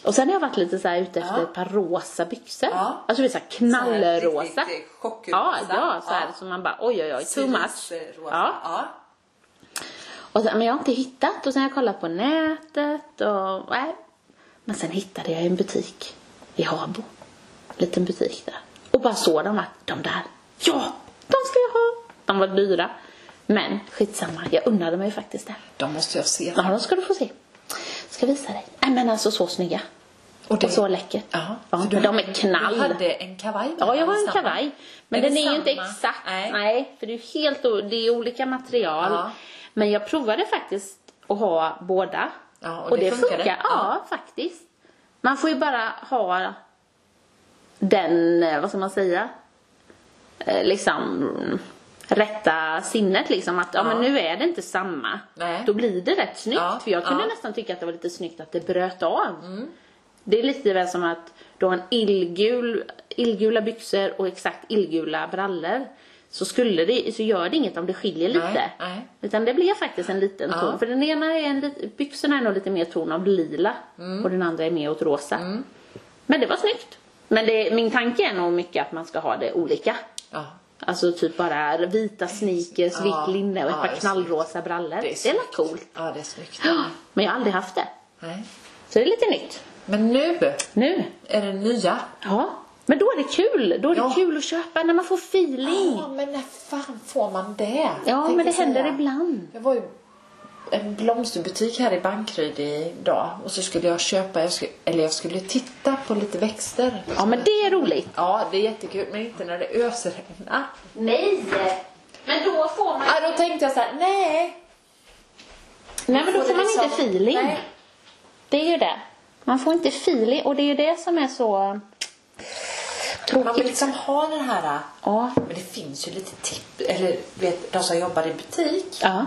Speaker 1: Och sen har jag varit lite så här ute efter
Speaker 2: Ja.
Speaker 1: ett par rosa byxor.
Speaker 2: Ja.
Speaker 1: Alltså det är så här knallrosa.
Speaker 2: Så här riktigt chockrosa.
Speaker 1: Ja, ja, så här
Speaker 2: Ja.
Speaker 1: som man bara oj oj oj, too much.
Speaker 2: Eh, Rosa.
Speaker 1: Ja.
Speaker 2: ja.
Speaker 1: Och sen, men jag har inte hittat och sen har jag kollat på nätet och nej. Men sen hittade jag en butik i Habo. Liten butik där. Och bara såg dem att de där, ja, de ska jag ha. De var dyra. Men skitsamma, jag unnade mig faktiskt det.
Speaker 2: De måste jag se.
Speaker 1: Ja, de ska du få se. Ska visa dig. Nej men alltså så snygga.
Speaker 2: Och
Speaker 1: Och,
Speaker 2: det-
Speaker 1: så läckert.
Speaker 2: Ja.
Speaker 1: ja
Speaker 2: För
Speaker 1: men de är
Speaker 2: Du
Speaker 1: knall.
Speaker 2: hade en kavaj med
Speaker 1: Ja, jag
Speaker 2: dig,
Speaker 1: har en
Speaker 2: samma.
Speaker 1: kavaj. Men
Speaker 2: Är
Speaker 1: den
Speaker 2: det
Speaker 1: är ju inte
Speaker 2: samma?
Speaker 1: exakt.
Speaker 2: Nej.
Speaker 1: Nej. för det är ju helt o- det är olika material.
Speaker 2: Ja.
Speaker 1: Men jag provade faktiskt att ha båda.
Speaker 2: Ja, och det funkade?
Speaker 1: funkar. Ja,
Speaker 2: Ja.
Speaker 1: faktiskt. Man får ju bara ha den, eh, vad ska man säga? eh, liksom mm, rätta sinnet liksom att ja, men nu är det inte samma.
Speaker 2: Nej.
Speaker 1: Då blir det rätt snyggt.
Speaker 2: Ja,
Speaker 1: För jag kunde
Speaker 2: ja. Mm.
Speaker 1: nästan tycka att det var lite snyggt att det bröt av. Det är lite väl som att du har en illgul, illgula byxor och exakt illgula brallor. Så, skulle det, så gör det inget om det skiljer lite.
Speaker 2: nej.
Speaker 1: Utan det blev faktiskt en liten
Speaker 2: Ja.
Speaker 1: ton. För den ena är en, lit- byxorna är nog lite mer ton av lila
Speaker 2: Mm.
Speaker 1: och den andra är mer åt rosa. Men det var snyggt. Men det, min tanke är nog mycket att man ska ha det olika.
Speaker 2: Ja.
Speaker 1: Alltså typ bara vita sneakers,
Speaker 2: Ja.
Speaker 1: vitt linne och ett
Speaker 2: Ja, det
Speaker 1: par
Speaker 2: är
Speaker 1: knallrosa brallor. Det är,
Speaker 2: snyggt.
Speaker 1: väl coolt.
Speaker 2: Ja, det är snyggt.
Speaker 1: Men jag har aldrig haft det.
Speaker 2: Nej.
Speaker 1: Så det är lite nytt.
Speaker 2: Men nu
Speaker 1: Nu.
Speaker 2: är det nya.
Speaker 1: Ja. Men då är det kul. Då är det
Speaker 2: Ja.
Speaker 1: kul att köpa när man får feeling.
Speaker 2: Ja, men när fan får man det?
Speaker 1: Ja,
Speaker 2: Tänkte
Speaker 1: men det händer
Speaker 2: säga.
Speaker 1: ibland.
Speaker 2: Jag var ju en blomsterbutik här i Bankryd idag och så skulle jag köpa, jag skulle, eller jag skulle titta på lite växter.
Speaker 1: Ja, men det är roligt.
Speaker 2: Ja, det är jättekul, men inte när det ösregnar.
Speaker 1: Nej! Men då får man...
Speaker 2: Ja, då tänkte jag så här, nej.
Speaker 1: Nej, men då får man
Speaker 2: liksom-
Speaker 1: inte feeling.
Speaker 2: Nej.
Speaker 1: Det är ju det. Man får inte feeling och det är ju det som är så
Speaker 2: Man vill
Speaker 1: tråkigt.
Speaker 2: liksom ha den här,
Speaker 1: Ja.
Speaker 2: men det finns ju lite tips, eller vet, de som jobbar i butik,
Speaker 1: Ja.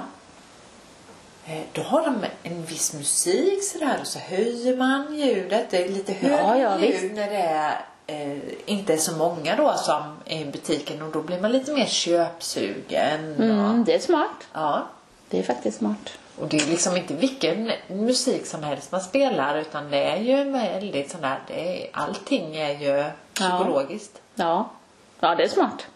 Speaker 2: eh, då har de en viss musik sådär och så höjer man ljudet, det är lite högre
Speaker 1: Ja, ja,
Speaker 2: ljud
Speaker 1: visst.
Speaker 2: när det är Eh, inte så många då som är i butiken och då blir man lite mer köpsugen. och-
Speaker 1: Mm, det är smart.
Speaker 2: Ja,
Speaker 1: Det är faktiskt smart.
Speaker 2: och det är liksom inte vilken musik som helst man spelar utan det är ju en väldigt sån där, det är, allting är ju psykologiskt.
Speaker 1: Ja. Ja, det är smart.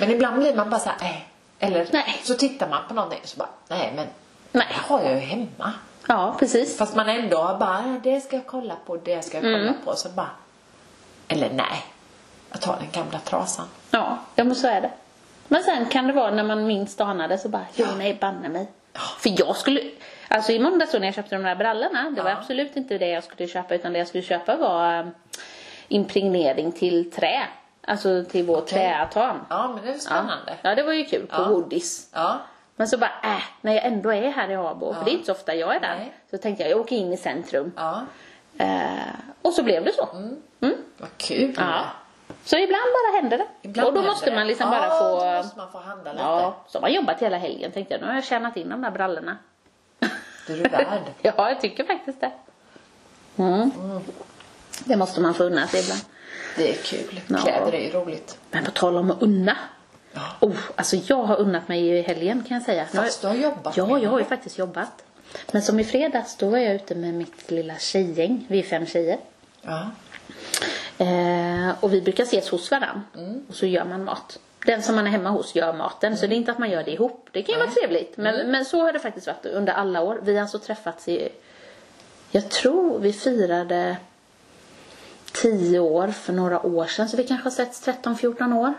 Speaker 2: Men ibland blir man bara såhär, nej. Eller
Speaker 1: Nej.
Speaker 2: så tittar man på någonting och så bara, nej men
Speaker 1: Nej.
Speaker 2: det har jag ju hemma.
Speaker 1: Ja, precis.
Speaker 2: Fast man ändå bara, det ska jag kolla på, det ska jag kolla
Speaker 1: Mm.
Speaker 2: på. Så bara, eller nej. Jag tar den gamla trasan.
Speaker 1: Ja, ja men så är det. Men sen kan det vara när man minst anar det så bara, ja. nej banne mig. För jag skulle, alltså i måndags då när jag köpte de där brallorna, det var
Speaker 2: Ja.
Speaker 1: absolut inte det jag skulle köpa utan det jag skulle köpa var eh, impregnering till trä. Alltså till vår träatan.
Speaker 2: Ja men det är ju spännande.
Speaker 1: Ja, det var ju kul på
Speaker 2: Ja.
Speaker 1: Woodies.
Speaker 2: Ja.
Speaker 1: Men så bara, äh, när jag ändå är här i Habo, för det är inte så ofta jag är där.
Speaker 2: Nej.
Speaker 1: Så tänkte jag, jag åker in i centrum.
Speaker 2: Ja.
Speaker 1: Eh, och så blev det så. Mm.
Speaker 2: Vad kul.
Speaker 1: Ja. Så ibland bara händer det.
Speaker 2: Ibland
Speaker 1: och då
Speaker 2: händer
Speaker 1: måste
Speaker 2: det.
Speaker 1: man liksom
Speaker 2: ja,
Speaker 1: bara få...
Speaker 2: då måste man få handla lite.
Speaker 1: Ja, så har man jobbat hela helgen tänkte jag. Nu har jag tjänat in de där brallorna. *laughs*
Speaker 2: Det är du värd.
Speaker 1: Ja, jag tycker faktiskt det. Mm. Det måste man få unna sig ibland.
Speaker 2: Det är kul.
Speaker 1: Ja.
Speaker 2: Kläder är ju roligt.
Speaker 1: Men på tal om att unna.
Speaker 2: Ja.
Speaker 1: Oh, alltså jag har unnat mig i helgen kan jag säga. Nu har
Speaker 2: Fast du har jobbat
Speaker 1: Ja,
Speaker 2: med
Speaker 1: jag har ju faktiskt jobbat. Men som i fredags, då var jag ute med mitt lilla tjejgäng. Vi är fem tjejer.
Speaker 2: Ja.
Speaker 1: Eh, och vi brukar ses hos varandra.
Speaker 2: Mm.
Speaker 1: Och så gör man mat. Den som man är hemma hos gör maten. Så det är inte att man gör det ihop. Det kan ju vara trevligt. Men,
Speaker 2: Mm.
Speaker 1: men så har det faktiskt varit under alla år. Vi har alltså träffats i... Jag tror vi firade 10 år för några år sedan. Så vi kanske har setts 13-14 år.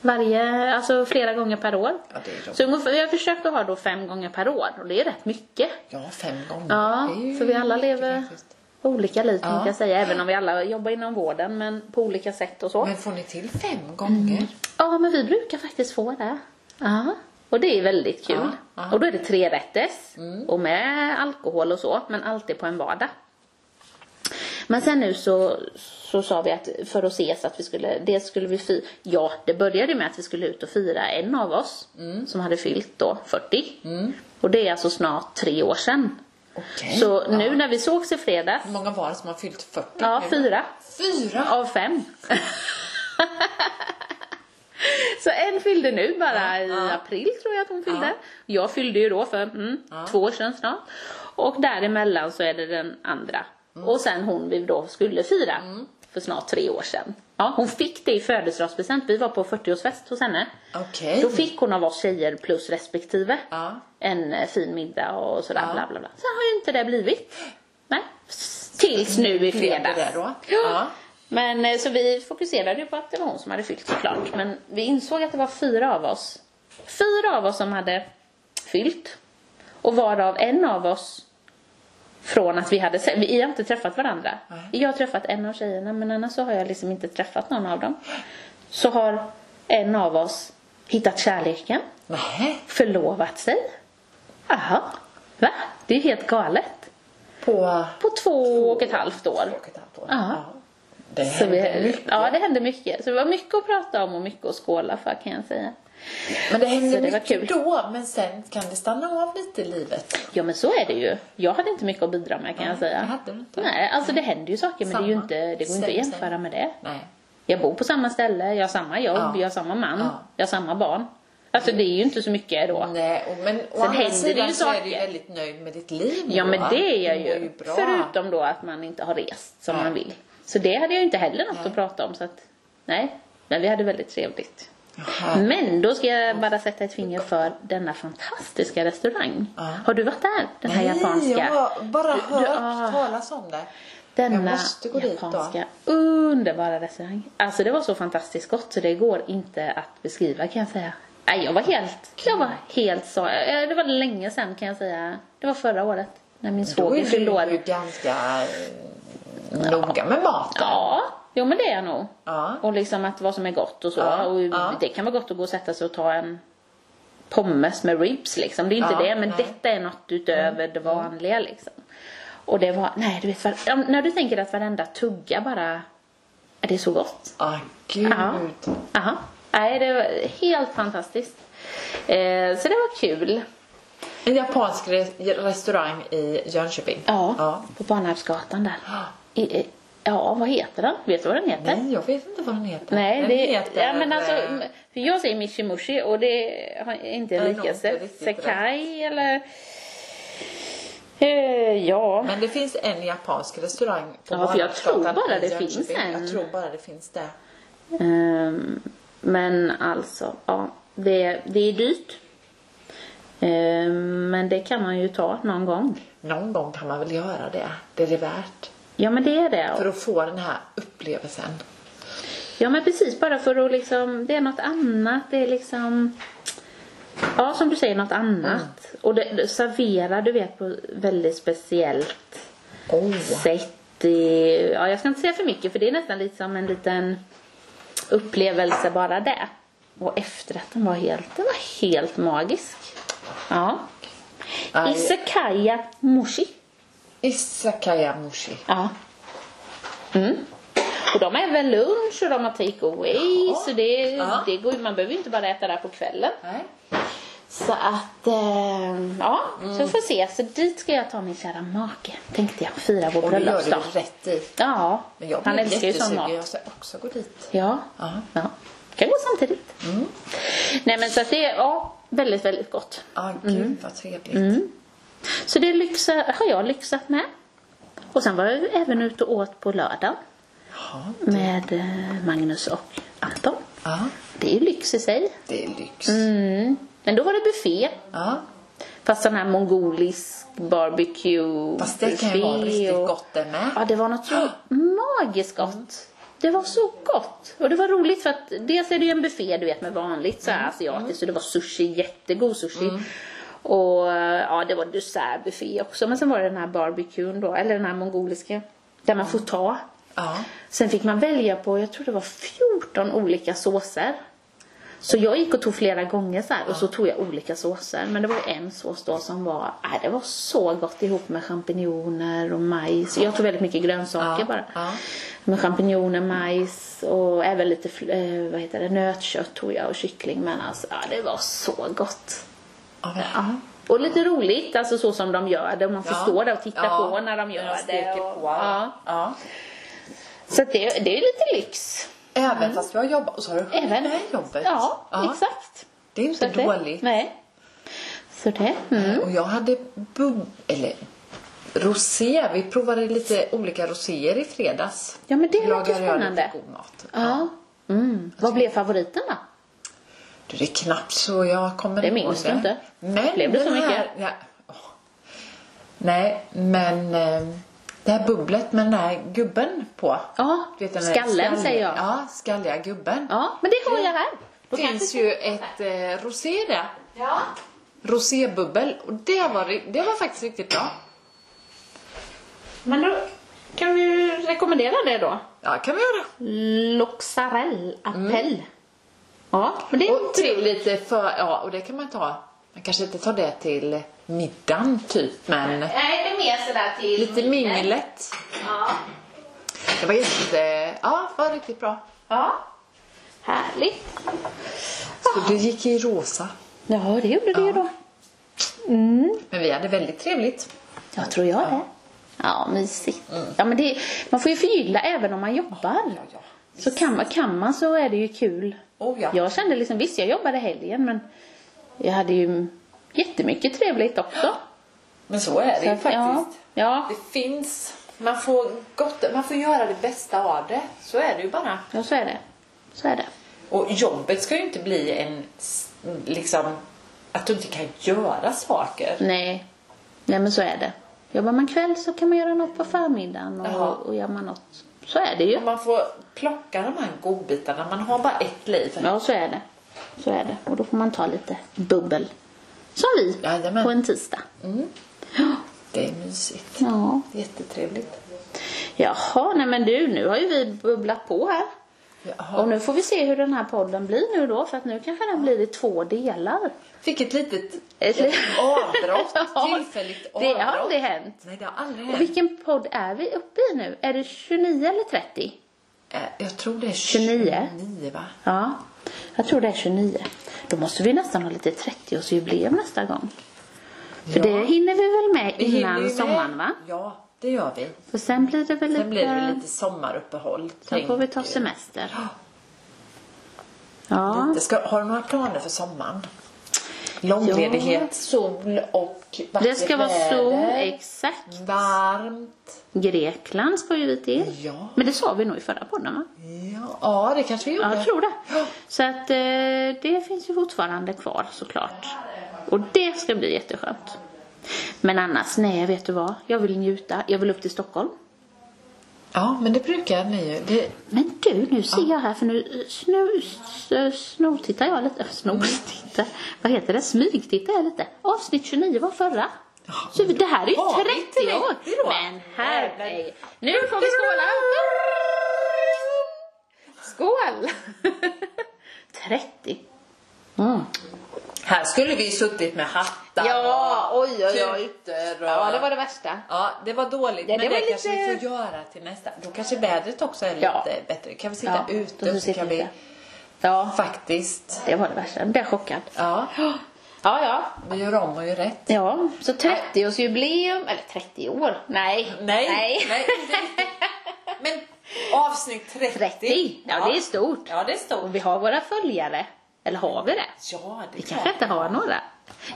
Speaker 1: Varje, alltså flera gånger per år.
Speaker 2: Mm. Ja, det är roligt.
Speaker 1: så ungefär, vi har försökt att ha då fem gånger per år. Och det är rätt mycket.
Speaker 2: ja, fem gånger.
Speaker 1: Ja,
Speaker 2: Det är ju
Speaker 1: för vi alla
Speaker 2: mycket
Speaker 1: lever
Speaker 2: faktiskt.
Speaker 1: olika liv tänkte
Speaker 2: Ja.
Speaker 1: jag säga. Även om vi alla jobbar inom vården men på olika sätt och så.
Speaker 2: Men får ni till fem gånger?
Speaker 1: Ja, men vi brukar faktiskt få det. Ja. Och det är väldigt kul.
Speaker 2: Ja, ja. Mm.
Speaker 1: Och då är det tre rättes och med alkohol och så, men alltid på en vardag. Men sen nu så, så sa vi att för att ses att vi skulle, det skulle vi fira. Ja, det började med att vi skulle ut och fira en av oss
Speaker 2: Mm.
Speaker 1: som hade fyllt då 40. Och det är alltså snart tre år sedan.
Speaker 2: Okej.
Speaker 1: Så nu när vi sågs i fredags,
Speaker 2: Hur många var det som har fyllt 40
Speaker 1: ja
Speaker 2: nu?
Speaker 1: fyra
Speaker 2: Fyra?
Speaker 1: av fem. Så en fyllde nu bara i april tror jag att hon fyllde. Jag fyllde ju då för mm, två år sedan snart. Och däremellan så är det den andra. Och sen hon vi då skulle fira för snart tre år sedan. Ja, hon fick det i födelsedagspresent. Vi var på 40-årsfest hos henne.
Speaker 2: Okej.
Speaker 1: Då fick hon av oss tjejer plus respektive
Speaker 2: Mm. Ja.
Speaker 1: en eh, fin middag och sådär bla bla bla. Sen har ju inte det blivit. Nej. Tills nu i
Speaker 2: Blev det
Speaker 1: fredags.
Speaker 2: det då?
Speaker 1: Ja.
Speaker 2: Ja.
Speaker 1: Men eh, så vi fokuserade ju på att det var hon som hade fyllt såklart. Men vi insåg att det var fyra av oss. Fyra av oss som hade fyllt. Och varav en av oss från att vi hade sett, vi har inte träffat varandra. Jag har träffat en av tjejerna men annars så har jag liksom inte träffat någon av dem. Så har en av oss hittat kärleken
Speaker 2: Nej.
Speaker 1: förlovat sig. Jaha, va? Det är ju helt galet.
Speaker 2: På...
Speaker 1: På två och ett halvt år.
Speaker 2: Två och ett halvt år.
Speaker 1: Ja.
Speaker 2: Det
Speaker 1: Så
Speaker 2: hände
Speaker 1: vi,
Speaker 2: mycket.
Speaker 1: ja, det hände mycket. Så det var mycket att prata om och mycket att skåla för kan jag säga.
Speaker 2: Men det hände
Speaker 1: Så det var
Speaker 2: mycket
Speaker 1: kul.
Speaker 2: då, men sen kan det stanna av lite i livet.
Speaker 1: Ja men så är det ju. Jag hade inte mycket att bidra med kan jag säga.
Speaker 2: det hade du inte.
Speaker 1: Nej, alltså det händer ju saker men det, är ju
Speaker 2: Samma.
Speaker 1: inte, det går inte att
Speaker 2: Same,
Speaker 1: jämföra
Speaker 2: same.
Speaker 1: med det.
Speaker 2: Nej.
Speaker 1: Jag bor på samma ställe, jag har samma jobb,
Speaker 2: Ja.
Speaker 1: jag har samma man,
Speaker 2: Ja.
Speaker 1: jag har samma barn. Alltså det är ju inte så mycket då.
Speaker 2: Nej, och, men å
Speaker 1: Sen
Speaker 2: andra
Speaker 1: händer det ju
Speaker 2: sidan så är du ju
Speaker 1: saker.
Speaker 2: väldigt nöjd med ditt liv
Speaker 1: Ja
Speaker 2: nu,
Speaker 1: men
Speaker 2: va?
Speaker 1: det är jag
Speaker 2: Du mår
Speaker 1: ju.
Speaker 2: bra.
Speaker 1: Förutom då att man inte har rest som
Speaker 2: Nej.
Speaker 1: man vill. Så det hade jag ju inte heller något
Speaker 2: Nej.
Speaker 1: att prata om så att, nej. Men vi hade väldigt trevligt.
Speaker 2: Jaha.
Speaker 1: Men då ska jag bara sätta ett finger för denna fantastiska restaurang.
Speaker 2: Ja.
Speaker 1: Har du varit där? Den här
Speaker 2: Nej,
Speaker 1: japanska.
Speaker 2: jag har bara
Speaker 1: Du- du-
Speaker 2: hört
Speaker 1: ah.
Speaker 2: talas om det.
Speaker 1: Denna
Speaker 2: Jag måste gå dit då.
Speaker 1: japanska underbara restaurang. Alltså det var så fantastiskt gott så det går inte att beskriva kan jag säga. Nej, jag var helt, jag var helt så, eh, det var länge sedan kan jag säga. Det var förra året när min
Speaker 2: Då
Speaker 1: svåger
Speaker 2: är
Speaker 1: fyllde
Speaker 2: du ju
Speaker 1: år.
Speaker 2: ganska eh, noga med maten.
Speaker 1: Ja, jo men det är jag nog.
Speaker 2: Ja.
Speaker 1: Och liksom att vad som är gott och så.
Speaker 2: Ja,
Speaker 1: Och
Speaker 2: ja.
Speaker 1: Det kan vara gott att gå och sätta sig och ta en pommes med ribs liksom. Det är inte
Speaker 2: Ja,
Speaker 1: det, men
Speaker 2: nej. Mm.
Speaker 1: detta är något utöver det vanliga liksom. Och det var, nej du vet, var, ja, när du tänker att varenda tugga bara, är det är så gott.
Speaker 2: Ah, gud.
Speaker 1: Ja. Aha. Nej, det var helt fantastiskt. Eh, så det var kul.
Speaker 2: En japansk re- restaurang i Jönköping.
Speaker 1: Ja,
Speaker 2: ja.
Speaker 1: på Barnarpsgatan
Speaker 2: *gasps*
Speaker 1: där.
Speaker 2: Ah,
Speaker 1: I, eh, ja, vad heter den? Vet du vad den heter?
Speaker 2: Nej, jag vet inte vad den heter.
Speaker 1: Nej,
Speaker 2: den
Speaker 1: det,
Speaker 2: heter...
Speaker 1: ja, men alltså,
Speaker 2: eh,
Speaker 1: m- för jag säger Mishimushi och det har inte en
Speaker 2: Nej, nog inte
Speaker 1: liknelse.
Speaker 2: riktigt
Speaker 1: Sekai eller... Eh, ja.
Speaker 2: Men det finns en japansk restaurang på
Speaker 1: Ja, för jag
Speaker 2: Barnadsgatan
Speaker 1: tror bara
Speaker 2: i
Speaker 1: det
Speaker 2: Jönköping.
Speaker 1: finns en.
Speaker 2: Jag tror bara det finns det.
Speaker 1: Ehm, men alltså, ja. Det, det är dyrt. Ehm, men det kan man ju ta någon gång.
Speaker 2: Någon gång kan man väl göra det. Det är det värt.
Speaker 1: Ja, men det är det.
Speaker 2: För att få den här upplevelsen.
Speaker 1: Ja men precis, bara för att liksom, det är något annat, det är liksom Ja som du säger, något annat.
Speaker 2: Mm.
Speaker 1: Och det, det serverar du vet på väldigt speciellt
Speaker 2: Oh.
Speaker 1: sätt. I, ja jag ska inte säga för mycket för det är nästan lite som en liten upplevelse bara det. Och efterrätten var helt, den var helt magisk. Ja.
Speaker 2: Aj.
Speaker 1: Isekaya Mushi.
Speaker 2: Isakaya mushi.
Speaker 1: Ja. Mm. Och de har även lunch och de har take away.
Speaker 2: Jaha.
Speaker 1: Så det,
Speaker 2: Ja.
Speaker 1: det går, ju- man behöver ju inte bara äta där på kvällen.
Speaker 2: Nej.
Speaker 1: Så att, eh, ja. Så
Speaker 2: Mm.
Speaker 1: vi får se. Så dit ska jag ta min kära make. Tänkte jag. Fira vår
Speaker 2: Och det gör du
Speaker 1: bröllopsdag.
Speaker 2: rätt i.
Speaker 1: Ja.
Speaker 2: Men jag
Speaker 1: Han
Speaker 2: blev
Speaker 1: älskar ju sån
Speaker 2: jättesugen. Jag
Speaker 1: mat.
Speaker 2: ska också gå dit.
Speaker 1: Ja.
Speaker 2: Ja.
Speaker 1: ja. Kan gå samtidigt. Nej men så att det är, ja. Väldigt, väldigt gott.
Speaker 2: Ah, gud vad trevligt.
Speaker 1: Mm. Så det lyxa, har jag lyxat med. Och sen var jag ju även ute och åt på lördagen.
Speaker 2: Ja.
Speaker 1: med eh, Magnus och Anton.
Speaker 2: Ja,
Speaker 1: Det är ju lyx i sig.
Speaker 2: det är lyx.
Speaker 1: Mm. Men då var det buffé.
Speaker 2: Ja.
Speaker 1: Fast sån här mongolisk barbecue.
Speaker 2: Fast det kan ju vara
Speaker 1: buffé
Speaker 2: riktigt
Speaker 1: och-
Speaker 2: gott det med. Mm.
Speaker 1: Ja, det var
Speaker 2: *gasps*
Speaker 1: något så magiskt gott. Det var så gott. Och det var roligt för att dels är det ju en buffé du vet med vanligt så
Speaker 2: Mm.
Speaker 1: här asiatiskt. Så det var sushi, jättegod sushi. Och ja, det var dessertbuffé också. Men sen var det den här barbecuen då, eller den här mongoliska. Där man får ta.
Speaker 2: Ja.
Speaker 1: Sen fick man välja på, jag tror det var 14 olika såser. Så jag gick och tog flera gånger så här och så tog jag olika såser. Men det var ju en sås då som var, nej det var så gott ihop med champinjoner och majs. Jag tog väldigt mycket grönsaker
Speaker 2: Ja,
Speaker 1: bara.
Speaker 2: ja.
Speaker 1: Med champinjoner, majs och även lite, fl- eh, vad heter det, nötkött tog jag och kyckling. Men alltså, ja det var så gott.
Speaker 2: Ja, men-
Speaker 1: Och lite roligt, alltså så som de gör det. Och man får
Speaker 2: Ja.
Speaker 1: stå där och titta
Speaker 2: Ja,
Speaker 1: på när de gör det.
Speaker 2: steker
Speaker 1: Och,
Speaker 2: på.
Speaker 1: ja.
Speaker 2: Ja.
Speaker 1: Så att det, det är lite lyx.
Speaker 2: Även fast du har jobbat, och så har du själv
Speaker 1: Även.
Speaker 2: det här jobbet.
Speaker 1: Ja, exakt.
Speaker 2: Det är inte
Speaker 1: att det-
Speaker 2: dåligt.
Speaker 1: Nej. Så det. Mm.
Speaker 2: Och jag hade bub... eller rosé. Vi provade lite olika roséer i fredags.
Speaker 1: Ja, men det låter
Speaker 2: Lagar jag
Speaker 1: spännande.
Speaker 2: lite god mat.
Speaker 1: Ja. Mm. Vad blev favoriten då?
Speaker 2: Du, det är knappt så jag kommer
Speaker 1: Det
Speaker 2: ihåg
Speaker 1: minns du inte.
Speaker 2: Men
Speaker 1: Blev det så
Speaker 2: den här-
Speaker 1: mycket?
Speaker 2: Ja. åh. Nej, men eh, det här bubblet med den här gubben på.
Speaker 1: Ja,
Speaker 2: Du vet, den här
Speaker 1: skallen säger jag.
Speaker 2: Ja, skalliga gubben.
Speaker 1: Ja, men det har jag här.
Speaker 2: Det
Speaker 1: Då
Speaker 2: finns
Speaker 1: kanske-
Speaker 2: ju ett eh, rosé där.
Speaker 1: Ja.
Speaker 2: Rosébubbel. Och det var, ri- det var faktiskt riktigt bra.
Speaker 1: Men då kan vi rekommendera det då.
Speaker 2: Ja, kan vi göra.
Speaker 1: Loxarell appell. Ja, men det är
Speaker 2: Och till lite för, ja, och det kan man ta. Man kanske inte tar det till middagen typ, men
Speaker 1: Nej, det är mer sådär till...
Speaker 2: lite minglet.
Speaker 1: Ja.
Speaker 2: Det var jätte... Ja, det var riktigt bra.
Speaker 1: Ja. Härligt.
Speaker 2: Så det gick i rosa.
Speaker 1: Ja, det gjorde det ju då.
Speaker 2: Men vi hade väldigt trevligt.
Speaker 1: Jag tror jag det. Ja, mysigt. Ja, men det, man får ju förgylla även om man jobbar.
Speaker 2: Ja, ja.
Speaker 1: Så kan man, kan man så är det ju kul.
Speaker 2: Oh, ja.
Speaker 1: Jag kände liksom, visst jag jobbade helgen men jag hade ju jättemycket trevligt också.
Speaker 2: Men så är det ju
Speaker 1: Så att- ja,
Speaker 2: faktiskt.
Speaker 1: ja,
Speaker 2: Det finns. Man får, gott, man får göra det bästa av det. Så är det ju bara.
Speaker 1: ja, så är det. Så är det.
Speaker 2: Och jobbet ska ju inte bli en... s- Liksom... Att du inte kan göra saker.
Speaker 1: Nej, nej men så är det. Jobbar man kväll så kan man göra något på förmiddagen
Speaker 2: Ja.
Speaker 1: och, och gör man något. Så är det ju.
Speaker 2: Man får plocka de här godbitarna. Man har bara ett liv.
Speaker 1: Ja, så är det. Så är det. Och då får man ta lite bubbel. Som vi,
Speaker 2: Jajamän.
Speaker 1: på en tisdag.
Speaker 2: Det är mysigt.
Speaker 1: Ja.
Speaker 2: Jättetrevligt.
Speaker 1: Jaha, nej men du, nu har ju vi bubblat på här.
Speaker 2: Jaha.
Speaker 1: Och nu får vi se hur den här podden blir nu då, för att nu kanske den blir i två delar.
Speaker 2: Fick ett litet
Speaker 1: Ett *laughs* litet-
Speaker 2: avbrott.
Speaker 1: Ja,
Speaker 2: Tillfälligt avbrott.
Speaker 1: Det har aldrig hänt.
Speaker 2: Nej, det har aldrig
Speaker 1: Och
Speaker 2: hänt.
Speaker 1: vilken podd är vi uppe i nu? Är det 29 eller 30?
Speaker 2: Eh, Jag tror det är
Speaker 1: 29.
Speaker 2: 29 va?
Speaker 1: Ja, jag tror det är 29. Då måste vi nästan ha lite 30-årsjubileum nästa gång. För
Speaker 2: Ja.
Speaker 1: det hinner vi väl med
Speaker 2: Vi hinner
Speaker 1: innan
Speaker 2: ju med.
Speaker 1: sommaren va?
Speaker 2: Ja, det gör vi.
Speaker 1: För sen blir det väl lite...
Speaker 2: Sen blir det lite sommaruppehåll.
Speaker 1: sen får vi ta
Speaker 2: tänker
Speaker 1: semester.
Speaker 2: Ja.
Speaker 1: Ja.
Speaker 2: jag. Ska, har du några planer för sommaren? Långledighet, sol och vackert
Speaker 1: Det ska vara sol,
Speaker 2: väder.
Speaker 1: exakt.
Speaker 2: Varmt.
Speaker 1: Grekland ska ju vi till.
Speaker 2: Ja.
Speaker 1: Men det sa vi nog i förra podden va?
Speaker 2: Ja, ja, det kanske vi gjorde.
Speaker 1: Ja, jag tror det. Så att eh, det finns ju fortfarande kvar såklart. Och det ska bli jätteskönt. Men annars, nej vet du vad? Jag vill njuta. Jag vill upp till Stockholm.
Speaker 2: Ja, men det brukar ni ju. Det,
Speaker 1: Men du, nu ser jag här för nu snus, snortittar jag lite. Snortittar? Vad heter det? Smygtittar jag lite. Avsnitt 29 var förra.
Speaker 2: Ja.
Speaker 1: Så vi- det här är ju
Speaker 2: Har vi
Speaker 1: 30 år.
Speaker 2: 30 då?
Speaker 1: Men
Speaker 2: Jävlar.
Speaker 1: herregud. Nu får vi skåla. Skål! 30. Mm.
Speaker 2: här skulle vi ju suttit med hattar
Speaker 1: Ja,
Speaker 2: och
Speaker 1: oj oj oj.
Speaker 2: tutor och...
Speaker 1: Ja, det var det värsta.
Speaker 2: Ja, det var dåligt.
Speaker 1: Ja,
Speaker 2: men
Speaker 1: det
Speaker 2: det,
Speaker 1: var
Speaker 2: kanske
Speaker 1: lite-
Speaker 2: vi får göra till nästa. Då kanske vädret också är
Speaker 1: Ja.
Speaker 2: lite bättre. Kan vi sitta
Speaker 1: Ja,
Speaker 2: ute
Speaker 1: då
Speaker 2: och så
Speaker 1: sitter
Speaker 2: kan
Speaker 1: vi
Speaker 2: vi
Speaker 1: ute. Ja,
Speaker 2: faktiskt...
Speaker 1: det var det värsta. Jag blev chockad. *gasps*
Speaker 2: Ja,
Speaker 1: Ja, ja.
Speaker 2: vi gör om och gör rätt.
Speaker 1: Ja, så 30-årsjubileum, eller 30 år, nej.
Speaker 2: nej.
Speaker 1: *laughs*
Speaker 2: Men avsnitt 30.
Speaker 1: 30, ja, det är stort.
Speaker 2: Ja, det är stort.
Speaker 1: Och vi har våra följare, eller har vi det?
Speaker 2: Ja, det
Speaker 1: Vi
Speaker 2: är
Speaker 1: kanske *laughs*
Speaker 2: klart.
Speaker 1: inte har några.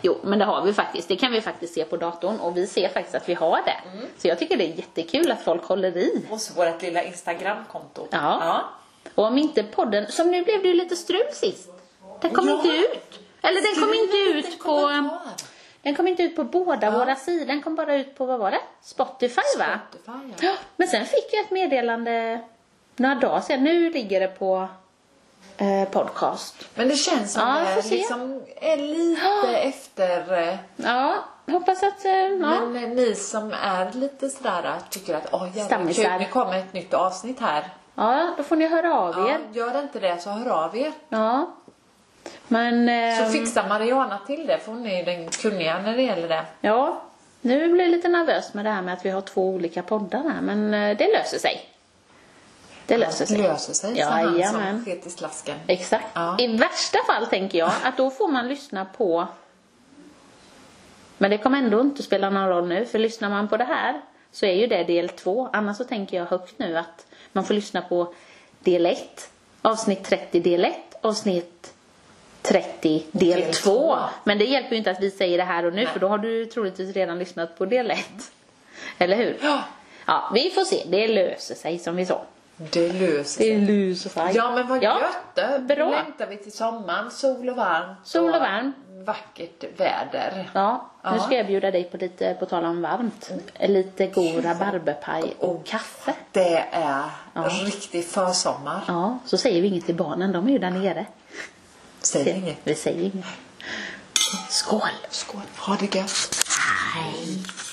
Speaker 1: Jo, men det har vi faktiskt. Det kan vi faktiskt se på datorn och vi ser faktiskt att vi har det. Så jag tycker det är jättekul att folk håller i.
Speaker 2: Och så vårt lilla Instagramkonto.
Speaker 1: Ja. Och om inte podden, som nu blev det ju lite strul sist. Den kom
Speaker 2: Ja.
Speaker 1: inte ut. Eller den kom inte ut på, den kom inte ut på båda våra sidor. Den kom bara ut på, vad var det? Spotify va?
Speaker 2: Spotify, ja.
Speaker 1: Ja, men sen fick jag ett meddelande några dagar sedan. Nu ligger det på eh, podcast.
Speaker 2: Men det känns som
Speaker 1: Ja, vi får
Speaker 2: det
Speaker 1: se.
Speaker 2: liksom är lite efter... eh,
Speaker 1: Ja, hoppas att... Eh, ja.
Speaker 2: Men eh, ni som är lite sådär att tycker att åh jävlar kul,
Speaker 1: Stammisar.
Speaker 2: nu kommer ett nytt avsnitt här.
Speaker 1: ja, då får ni höra av
Speaker 2: Ja,
Speaker 1: er.
Speaker 2: gör inte det så hör av er.
Speaker 1: Ja. Men...
Speaker 2: Så
Speaker 1: Eh,
Speaker 2: fixar Mariana till det för hon är ju den kunniga när det gäller det.
Speaker 1: ja, nu blir jag lite nervös med det här med att vi har två olika poddar här. Men eh, det löser sig. Det löser sig.
Speaker 2: Löser sig sa han som
Speaker 1: Jajamän.
Speaker 2: sket i slasken.
Speaker 1: Exakt.
Speaker 2: Ja.
Speaker 1: I värsta fall tänker jag att då får man lyssna på Men det kommer ändå inte spela någon roll nu för lyssnar man på det här så är ju det del två. Annars så tänker jag högt nu att man får lyssna på del 1, avsnitt 30 del 1, avsnitt 30 del
Speaker 2: Del
Speaker 1: 2.
Speaker 2: två.
Speaker 1: Men det hjälper ju inte att vi säger det här och nu
Speaker 2: Nej.
Speaker 1: för då har du troligtvis redan lyssnat på del 1. Eller hur?
Speaker 2: Ja.
Speaker 1: Ja, vi får se. Det löser sig som vi sa.
Speaker 2: Det löser sig.
Speaker 1: Det löser sig.
Speaker 2: Ja men vad
Speaker 1: Ja,
Speaker 2: gött då.
Speaker 1: bra.
Speaker 2: Nu längtar vi till sommaren, sol och varmt.
Speaker 1: Sol och varmt.
Speaker 2: Vackert väder.
Speaker 1: Ja, nu
Speaker 2: Ja.
Speaker 1: ska jag bjuda dig på lite, på tal om varmt, lite god rabarberpaj och
Speaker 2: Och-
Speaker 1: kaffe.
Speaker 2: Det är riktig försommar.
Speaker 1: Ja, så säger vi inget till barnen, de är ju där nere.
Speaker 2: Säg inget.
Speaker 1: Vi säger inget. Skål!
Speaker 2: Skål, ha det gött.
Speaker 1: Hej!